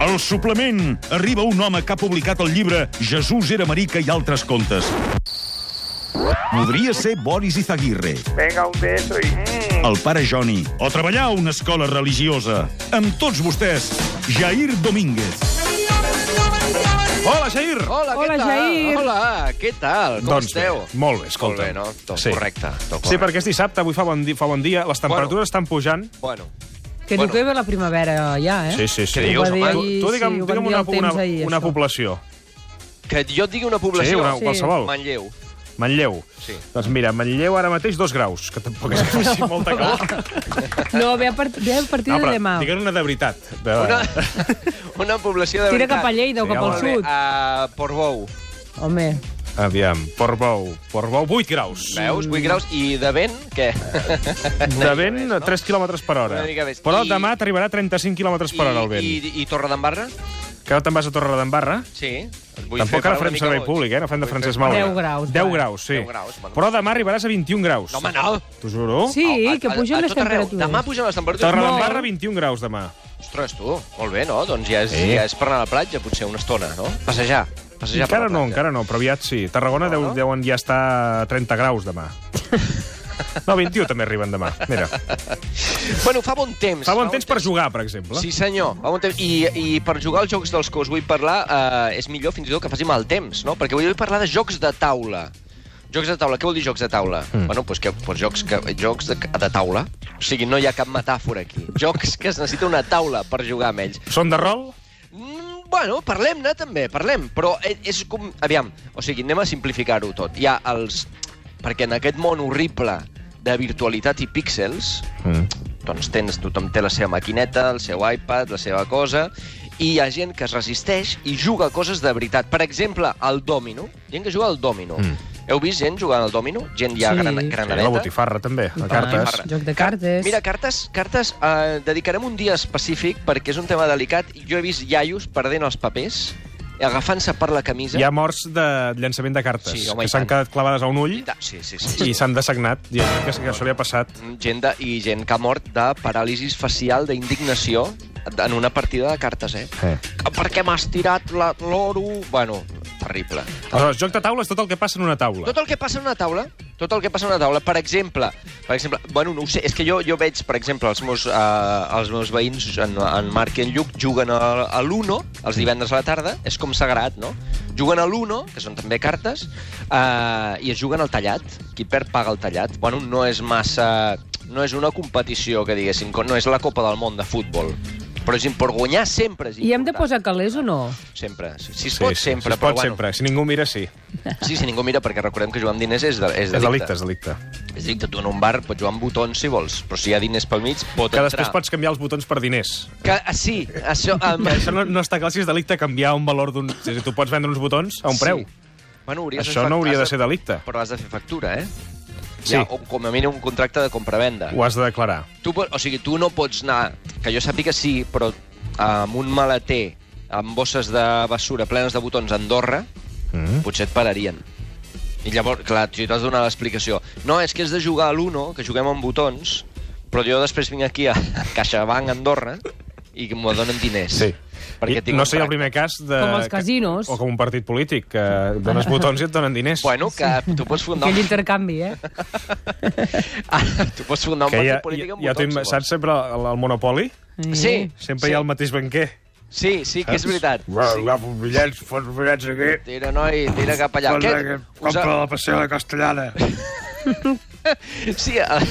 Al suplement arriba un home que ha publicat el llibre Jesús era marica i altres contes. Podria ser Boris Izaguirre, Venga, un beso y... mm. el pare Joni, o treballar a una escola religiosa. Amb tots vostès, Jair Domínguez. Hola, Jair! Hola, Hola, què tal? Jair. Hola, què tal? Com Doncs bé, esteu? molt bé, Molt escolta. bé, no? Tot Sí. correcte. Tot correcte. Sí, perquè és dissabte, avui fa bon, di fa bon dia, les temperatures bueno. estan pujant. Bueno, Que Bueno. bueno. diu que ve la primavera ja, eh? Sí, sí, sí. Què dius, Ho va dir home? Tu, ahir, tu digue'm, sí, ho van digue'm dir una, al temps una, ahir, una això. població. que jo et digui una Sí, població... una, Sí. qualsevol. Manlleu. Manlleu. Sí. Doncs mira, Manlleu ara mateix dos graus, que tampoc és que faci molta calor. No, ve a, part... ve a partir de demà. digue'n una de veritat. De... Una, una població de Tira veritat. cap a Lleida o Sí, cap home. al Molt bé, sud. A Portbou. Home, Aviam, Portbou. Portbou, 8 graus. Veus? Mm. 8 graus. I de vent, què? De vent, 3 km per hora. Una mica més. Però I- demà t'arribarà a 35 km per hora el vent. I, i, i Torredembarra? Que ara te'n vas a Torredembarra? Sí. Et Vull Tampoc parar ara una farem mica servei boig. públic, eh? No fem de Vull Francesc fer- Maura. 10 graus, 10 va. graus, sí. 10 graus, bueno. Però demà arribaràs a 21 graus. No, home, no. T'ho juro. Sí, Home, que a- pugen a les tot arreu. temperatures. Demà pugen les temperatures. Torredembarra, 21 graus demà. Ostres, tu, molt bé, no? Doncs ja és, Sí. ja és per anar a la platja, potser, una estona, no? Passejar. Passejar per encara la no, platja. encara no, però aviat sí. Tarragona deu, deuen ja estar a 30 graus demà. No, 21 també arriben demà. Mira, Bueno, fa bon temps. fa bon temps per jugar, per exemple. Sí, senyor. Fa bon temps. I, I per jugar als jocs dels que us vull parlar eh, és millor fins i tot que faci mal temps, no? Perquè vull parlar de jocs de taula. Jocs de taula. Què vol dir jocs de taula? Mm. Bueno, doncs, que, doncs jocs, que, jocs de, de taula. O sigui, no hi ha cap metàfora aquí. Jocs que es necessita una taula per jugar amb ells. Són de rol? Mm, bueno, parlem-ne també, parlem. Però e- és com... Aviam, o sigui, anem a simplificar-ho tot. Hi ha els... Perquè en aquest món horrible de virtualitat i píxels, Mm. doncs tens, tothom té la seva maquineta, el seu iPad, la seva cosa, i hi ha gent que es resisteix i juga a coses de veritat. Per exemple, al dòmino. Gent que juga al dòmino. Mm. Heu vist gent jugant al dòmino? Gent ja Sí. gran, Sí, Sí, la granadeta? botifarra, també, I a tant. cartes. joc de cartes. Mira, cartes, cartes eh, dedicarem un dia específic perquè és un tema delicat. Jo he vist iaios perdent els papers, agafant-se per la camisa. Hi ha morts de llançament de cartes, Sí, home, que i s'han tant. quedat clavades a un ull I ta- Sí, sí, sí. i s'han dessagnat. I que, que això li ha passat. Gent de, I gent que ha mort de paràlisis facial d'indignació en una partida de cartes, eh? Eh. Per què m'has tirat la- l'oro? Bueno, terrible. Aleshores, joc de taula és tot el que passa en una taula. Tot el que passa en una taula, tot el que passa en una taula, per exemple, per exemple, bueno, no ho sé, és que jo, jo veig, per exemple, els meus, eh, els meus veïns, en, en Marc i en Lluc, juguen a, a l'Uno els divendres a la tarda, és com sagrat, no? Juguen a l'Uno, que són també cartes, eh, i es juguen al tallat, qui perd paga el tallat. Bueno, no és massa... no és una competició, que diguéssim, no és la Copa del Món de futbol, però és important, guanyar sempre és important. I hem de posar calés o no? Sempre, si, si es pot, sempre, si es pot però bueno... sempre. Si ningú mira, sí. Sí, si ningú mira, perquè recordem que jugar amb diners és, de, és És delicte. delicte, és delicte. És a dir, que tu en un bar pots jugar amb botons si vols, però si hi ha diners pel mig, pot Que entrar. després pots canviar els botons per diners. Que, ah, sí, això... Amb... Això no, no està clar si és delicte canviar un valor d'un... És a dir, tu pots vendre uns botons a un preu. Sí. Bueno, hauries de Això fer- no hauria has de ser delicte. Però has de fer factura, eh? Sí. Ja, o com a mínim un contracte de compravenda. Ho has de declarar. Tu, po- o sigui, tu no pots anar... Que jo sàpiga sí, però amb un maleter, amb bosses de bessura plenes de botons a Andorra, Mm. potser et pararien. I llavors, clar, tu t'has donat l'explicació. No, és que és de jugar a l'Uno, que juguem amb botons, però jo després vinc aquí a CaixaBank Andorra i que m'ho donen diners. Sí. Perquè I tinc no un seria el tracte. primer cas de... Com els casinos. O com un partit polític, que dones botons i et donen diners. Bueno, que tu pots fundar... Aquell Un... intercanvi, eh? Ah, tu pots fundar un que partit ja, polític amb ja t'ho botons. im- si saps sempre el, el Monopoli? vols. Sí, Sempre sí. hi ha el mateix banquer. Sí, sí, que és veritat. Bueno, agafo uns bitllets, fos uns bitllets aquí. Tira, noi, tira cap allà. Posa Què- que us ha- Compra la passera castellana. Sí, el,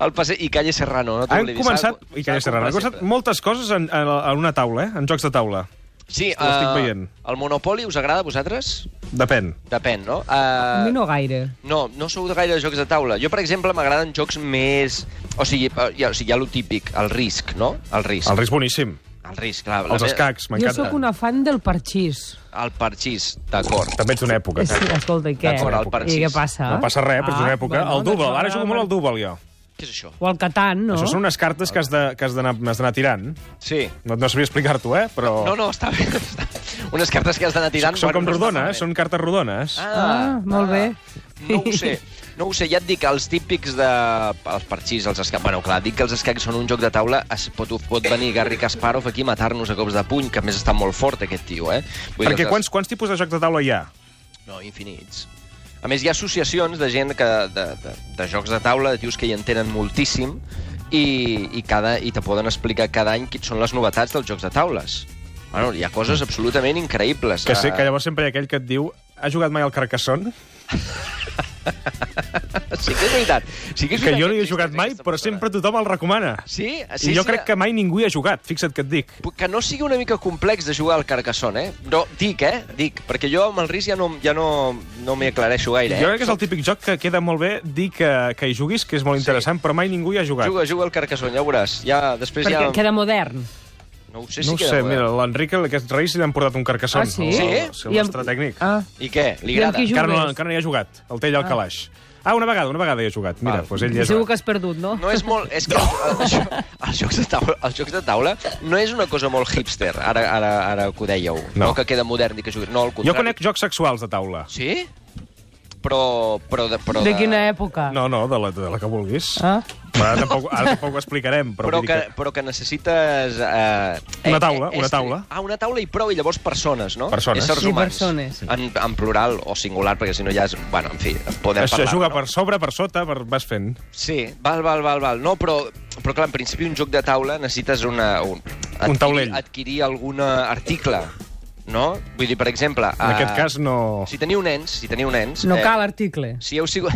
el passe... I Calle Serrano, no ah, Han t'oblidis. començat, s'ha- i que ja s'ha serà, han comprat començat sempre. moltes coses en, en, en una taula, eh? en jocs de taula. Sí, Ho estic eh, veient. El Monopoli us agrada a vosaltres? Depèn. Depèn, no? A Uh, mi Eh, no gaire. no, no sou de gaire de jocs de taula. Jo, per exemple, m'agraden jocs més... O sigui, eh, hi ha, o sigui, hi ha lo típic, el risc, no? El risc. El risc boníssim. El risc, clar. la Els me- escacs, Jo m'encanta. sóc una fan del parxís. El parxís, d'acord. També ets d'una època. Sí, escolta, i què? D'acord, el parxís. I què passa? No passa res, però és una època. bueno, el dúbel, doncs ara jugo molt al dúbel, jo. Què és això? O el Catan, no? Això són unes cartes que has de- que has d'anar has d'anar tirant. Sí. No, no sabia explicar-t'ho, eh? Però No, no, està bé. Està... Unes cartes que has d'anar tirant... són quan com no està rodones, malament. són cartes rodones. Ah, molt bé. Ah. No ho sé. No ho sé, ja et dic, els típics de... Els parxís, els escacs... Bueno, clar, dic que els escacs són un joc de taula, es pot, pot venir Garri Kasparov aquí a matar-nos a cops de puny, que a més està molt fort, aquest tio, eh? Vull dir, Perquè els- quants, quants tipus de jocs de taula hi ha? No, infinits. A més, hi ha associacions de gent que, de, de, de jocs de taula, de tios que hi entenen moltíssim, i, i, cada, i te poden explicar cada any quins són les novetats dels jocs de taules. Bueno, hi ha coses absolutament increïbles. Que sé Ah, que llavors sempre hi ha aquell que et diu ha jugat mai al Carcassonne? Sí que és veritat. Sí que, és Que veritat jo no hi he existeix jugat mai, aquesta però persona. sempre tothom el recomana. Sí? sí I sí, eh? jo crec que mai ningú hi ha jugat, fixa't que et dic. Que no sigui una mica complex de jugar al Carcassonne, eh? No, dic, eh? Dic, perquè jo amb el risc ja no, ja no, no m'hi aclareixo gaire, eh? Jo crec que és el típic joc que queda molt bé dir que, que hi juguis, que és molt Sí. interessant, però mai ningú hi ha jugat. Juga, juga al Carcassonne, ja ho veuràs. Ja, després Perquè ja... queda modern. No ho sé si No ho queda sé, modern. mira, l'Enric, aquest reis, li han portat un carcassó. Ah, sí? Sí? El, el I amb- nostre tècnic. Ah, I què? Li I amb agrada? qui Encara no, jugues? encara no hi ha jugat. El té allà al calaix. Ah, una vegada, una vegada hi ha jugat. Mira, Val. doncs ell hi ha segur jugat. que has perdut, no? No és molt... És que el- el- els, jocs de taula, els jocs de taula no és una cosa molt hipster, ara, ara, ara que ho dèieu. No. No. que queda modern i que jugui... No, al contrari. Jo conec jocs sexuals de taula. Sí? Però... però, de, però De quina època? No, no, de la, de la que vulguis. Ah? Però Ara tampoc, ara tampoc ho explicarem, però, Però vull que, dir que... però que necessites... Eh, Una eh, taula, eh, una estri- taula. Ah, una taula i prou, i llavors persones, no? Persones. Éssers Sí, humans. persones. En, en plural o singular, perquè si no ja és... Bueno, en fi, podem Això parlar. juga no? per sobre, per sota, per... vas fent. Sí, val, val, val, val. No, però, però clar, en principi un joc de taula necessites una, un, adquirir, taulell. Adquirir algun article, no? Vull dir, per exemple... eh, En aquest cas no... Si teniu nens, si teniu nens... eh, No cal article. Si heu sigut...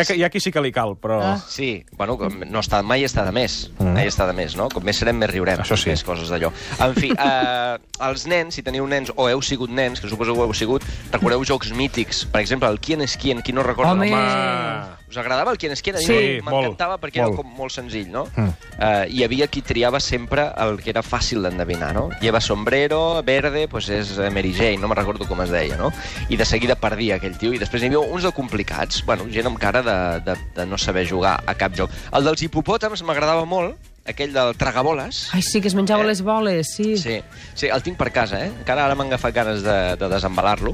ha, hi ha qui sí que li cal, però... Ah. Sí, bueno, com no està, mai està de més. Mm. Mai està de més, no? Com més serem, més riurem. Això sí. Més coses d'allò. En fi, eh, els nens, si teniu nens o heu sigut nens, que suposo que ho heu sigut, recordeu jocs mítics. Per exemple, el Quién és quién, qui no recorda Home. el nom? Ah. Us agradava el Quién és quién? A mi Sí, M'encantava molt, perquè era molt. com molt senzill, no? Mm. Mm. Eh, hi havia qui triava sempre el que era fàcil d'endevinar, no? Lleva sombrero, verde, pues és eh, Mary Jane, no me'n recordo com es deia, no? I de seguida perdia aquell tio. I després hi havia uns de complicats, bueno, gent amb cara de, de, de no saber jugar a cap joc. El dels hipopòtams m'agradava molt, aquell del tragaboles. Ai, sí, que es menjava Eh. les boles, sí. Sí, sí, el tinc per casa, eh? Encara ara m'han agafat ganes de, de desembalar-lo.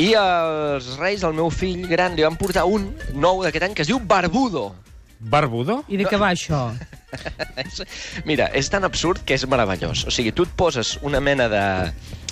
I els reis, el meu fill gran, li van portar un nou d'aquest any que es diu Barbudo. Barbudo? I de què va això? És- Mira, és tan absurd que és meravellós. O sigui, tu et poses una mena de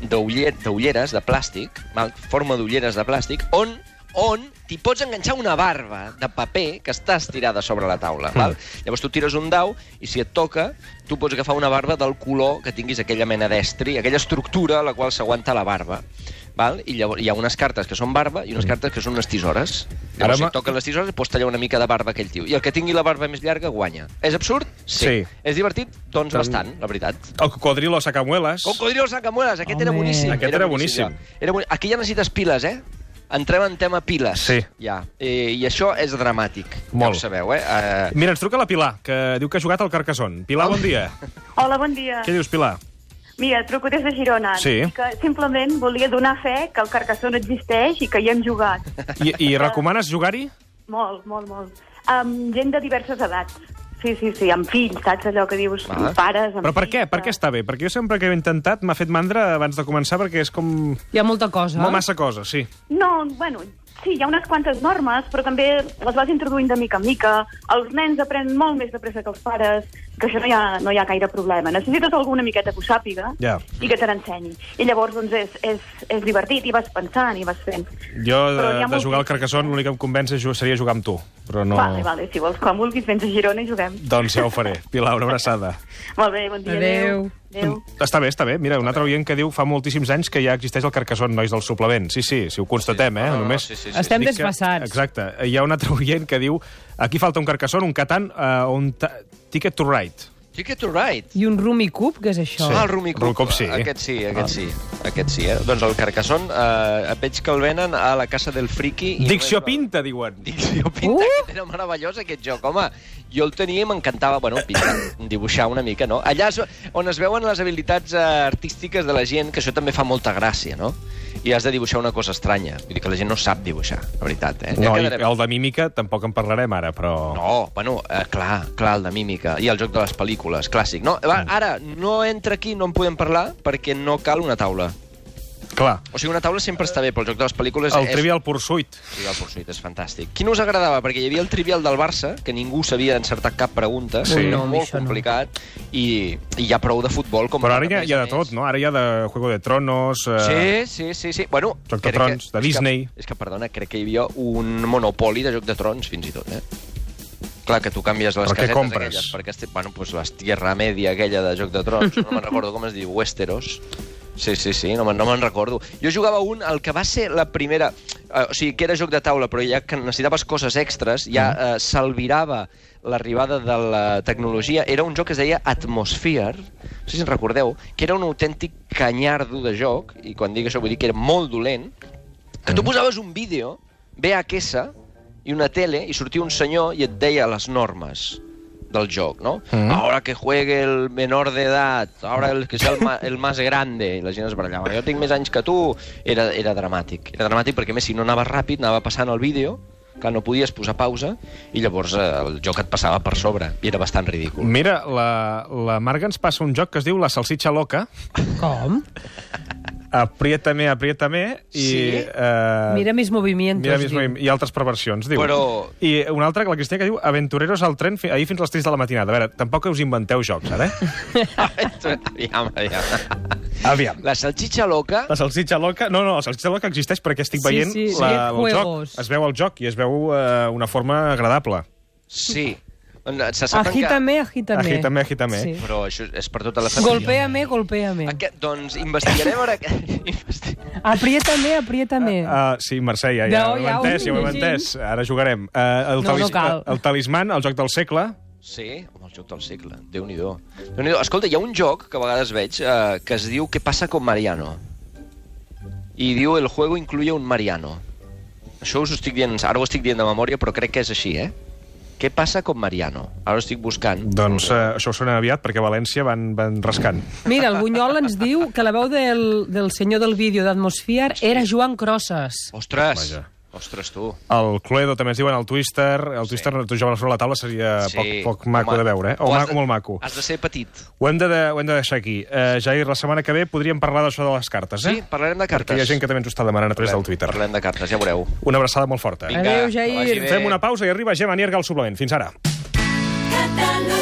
d'uller- d'ulleres de plàstic, val? forma d'ulleres de plàstic, on on t'hi pots enganxar una barba de paper que està estirada sobre la taula. Hmm. Val? Llavors tu tires un dau i si et toca, tu pots agafar una barba del color que tinguis aquella mena d'estri, aquella estructura a la qual s'aguanta la barba. Val? I llavors hi ha unes cartes que són barba i unes cartes que són unes tisores. Ara Llavors, si m'ha- et toquen les tisores, pots tallar una mica de barba a aquell tio. I el que tingui la barba més llarga guanya. És absurd? Sí. És divertit? Doncs bastant, la veritat. El cocodrilo sacamuelas. Cocodrilo Sacamuelas, aquest era Home. boníssim. Aquest era ja. Era boni... Aquí ja necessites piles, eh? Entrem en tema piles. Sí. Ja. Eh, I això és dramàtic. Molt. Ja ho sabeu, eh? eh... Mira, ens truca la Pilar, que diu que ha jugat al Carcassonne. Pilar, bon dia. Hola, bon dia. Què dius, Pilar? Mira, et truco des de Girona. Sí. Que simplement volia donar fe que el Carcassonne existeix i que hi hem jugat. I, i recomanes jugar-hi? molt, molt, molt. Amb gent de diverses edats. Sí, sí, sí, amb fills, saps allò que dius? Ah. Amb pares, amb Però per què? fills, Per què està bé? Perquè jo sempre que he intentat m'ha fet mandra abans de començar perquè és com... Hi ha molta cosa. Molt massa cosa, sí. No, bueno, sí, hi ha unes quantes normes, però també les vas introduint de mica en mica. Els nens aprenen molt més de pressa que els pares, que això no hi ha, no hi ha gaire problema. Necessites alguna miqueta que ho sàpiga Ja. i que te n'ensenyi. I llavors, doncs, és, és, és divertit i vas pensant i vas fent. Jo, de, Però hi de ha molt- jugar al Carcassonne, l'únic que em convenç és ju- seria jugar amb tu. Però no... Vale, vale, si vols, quan vulguis, vens a Girona i juguem. Doncs ja ho faré. Pilar, una abraçada. Molt bé, bon dia. Adéu. Adéu. Està bé, està bé. Mira, un altre oient que diu fa moltíssims anys que ja existeix el Carcassonne, nois del suplement. Sí, sí, si ho constatem, eh? no, no, Només... sí, sí, sí. Estem Dic que- desfassats. Exacte. Hi ha un altre oient que diu aquí falta un Carcassonne, un Catan, eh, un ta... Ticket to Ride. Ticket to Ride. I un Rumi Cube, què és això? Sí. Ah, el Rumi Cup. Rumicup sí. Ah. Aquest sí, aquest sí. Aquest sí, eh? Doncs el Carcassonne, eh, veig que el venen a la Casa del Friki. i Dicció no és- Pinta, diuen. Dicció Pinta, Uh! uh! aquest era meravellós, aquest joc, home. Jo el tenia i m'encantava, bueno, pintar, dibuixar una mica, no? Allà és on es veuen les habilitats eh, artístiques de la gent, que això també fa molta gràcia, no? I has de dibuixar una cosa estranya. Vull dir que la gent no sap dibuixar, la veritat, eh? No, i quedarem. el de mímica tampoc en parlarem ara, però... No, bueno, eh, clar, clar, el de mímica i el joc de les Mm. pel·lícules, clàssic. No, va, ara, no entra aquí, no en podem parlar, perquè no cal una taula. Clar. O sigui, una taula sempre està bé, però el joc de les pel·lícules El és... Trivial Pursuit. Trivial Pursuit és fantàstic. Qui no us agradava? Perquè hi havia el Trivial del Barça, que ningú sabia encertar cap pregunta, Sí. era No, molt això no. complicat, i, i hi ha prou de futbol. Com Però per ara hi ha, més hi ha a de més. tot, no? Eh, Ara hi ha de Juego de Tronos... Eh... Sí, sí, sí, sí. Bueno, Joc de crec Trons, de és Disney. Que, és que, perdona, crec que hi havia un monopoli de Joc de Trons, fins i tot, eh? Clar, que tu canvies les Per què casetes compres? aquelles. Perquè este, bueno, pues la Tierra Media aquella de Joc de Trons, no me'n recordo com es diu, Westeros. Sí, sí, sí, no me'n no me'n recordo. Jo jugava un, el que va ser la primera... Eh, o sigui, que era joc de taula, però ja que necessitaves coses extres, Mm-hmm. ja eh, s'alvirava l'arribada de la tecnologia. Era un joc que es deia Atmosphere, no sé si en recordeu, que era un autèntic canyardo de joc, i quan dic això vull dir que era molt dolent, que tu posaves un vídeo, VHS, i una tele, i sortia un senyor i et deia les normes del joc, no? Mm. Ahora que juegue el menor de edad, ahora el que sea el, ma, el más grande, i la gent es barallava. Jo tinc més anys que tu, era, era dramàtic. Era dramàtic perquè, a més, si no anaves ràpid, anava passant el vídeo, que no podies posar pausa, i llavors eh, el joc et passava per sobre, i era bastant ridícul. Mira, la, la Marga ens passa un joc que es diu La salsitxa loca. Com? Apriétame, apriétame. I, Sí? Eh, Mira mis movimientos. Mira, mismo, diu. i altres perversions, diu. Però- I una altra, la Cristina, que diu Aventureros al tren fi, ahir fins a les 3 de la matinada. A veure, tampoc us inventeu jocs, ara, eh? aviam, aviam. Aviam. La salxitxa loca... La salsitxa loca... No, no, la salsitxa loca existeix perquè estic Sí, veient sí, sí. la, el Juegos. joc. Es veu el joc i es veu eh, una forma agradable. Sí. Se sap encara- Agítame, agítame. Agítame, agítame. Però això és per tota la família. Golpéame, golpéame. Aquest, doncs investigarem ara... investi- Apriétame, apriétame. Uh, sí, Mercè, ja, ja, No, ho he ja ho entès, ja ho hem imagino. entès. Ara jugarem. Uh, el, No, no talis- cal. el talisman, el joc del segle. Sí, amb el joc del segle. Déu-n'hi-do. Déu -do. Escolta, hi ha un joc que a vegades veig eh, que es diu Què passa con Mariano? I diu El juego incluye un Mariano. Això us ho estic dient, ara ho estic dient de memòria, però crec que és així, eh? Què passa con Mariano? Ara ho estic buscant. Doncs uh, això ho sona aviat, perquè a València van, van rascant. Mira, el Bunyol ens diu que la veu del, del senyor del vídeo d'Atmosphere era Joan Crosses. Ostres! Vaja. Ostres, tu. El Cluedo també ens diuen, el Twister. El Twister, tu jugaves sobre la taula, seria Eh, poc, poc maco Home, de veure, eh? O has maco, de- molt maco. Has de ser petit. Ho hem de, ho hem de deixar aquí. Uh, Jair, la setmana que ve podríem parlar d'això de les cartes, eh? Sí, parlarem de cartes. Perquè hi ha gent que també ens ho està demanant a través del Twitter. Parlem de cartes, ja veureu. Una abraçada molt forta. Vinga, Adéu, que vagi Jair. bé. Fem una pausa i arriba Gemma Nierga al suplement. Fins ara. Catalunya.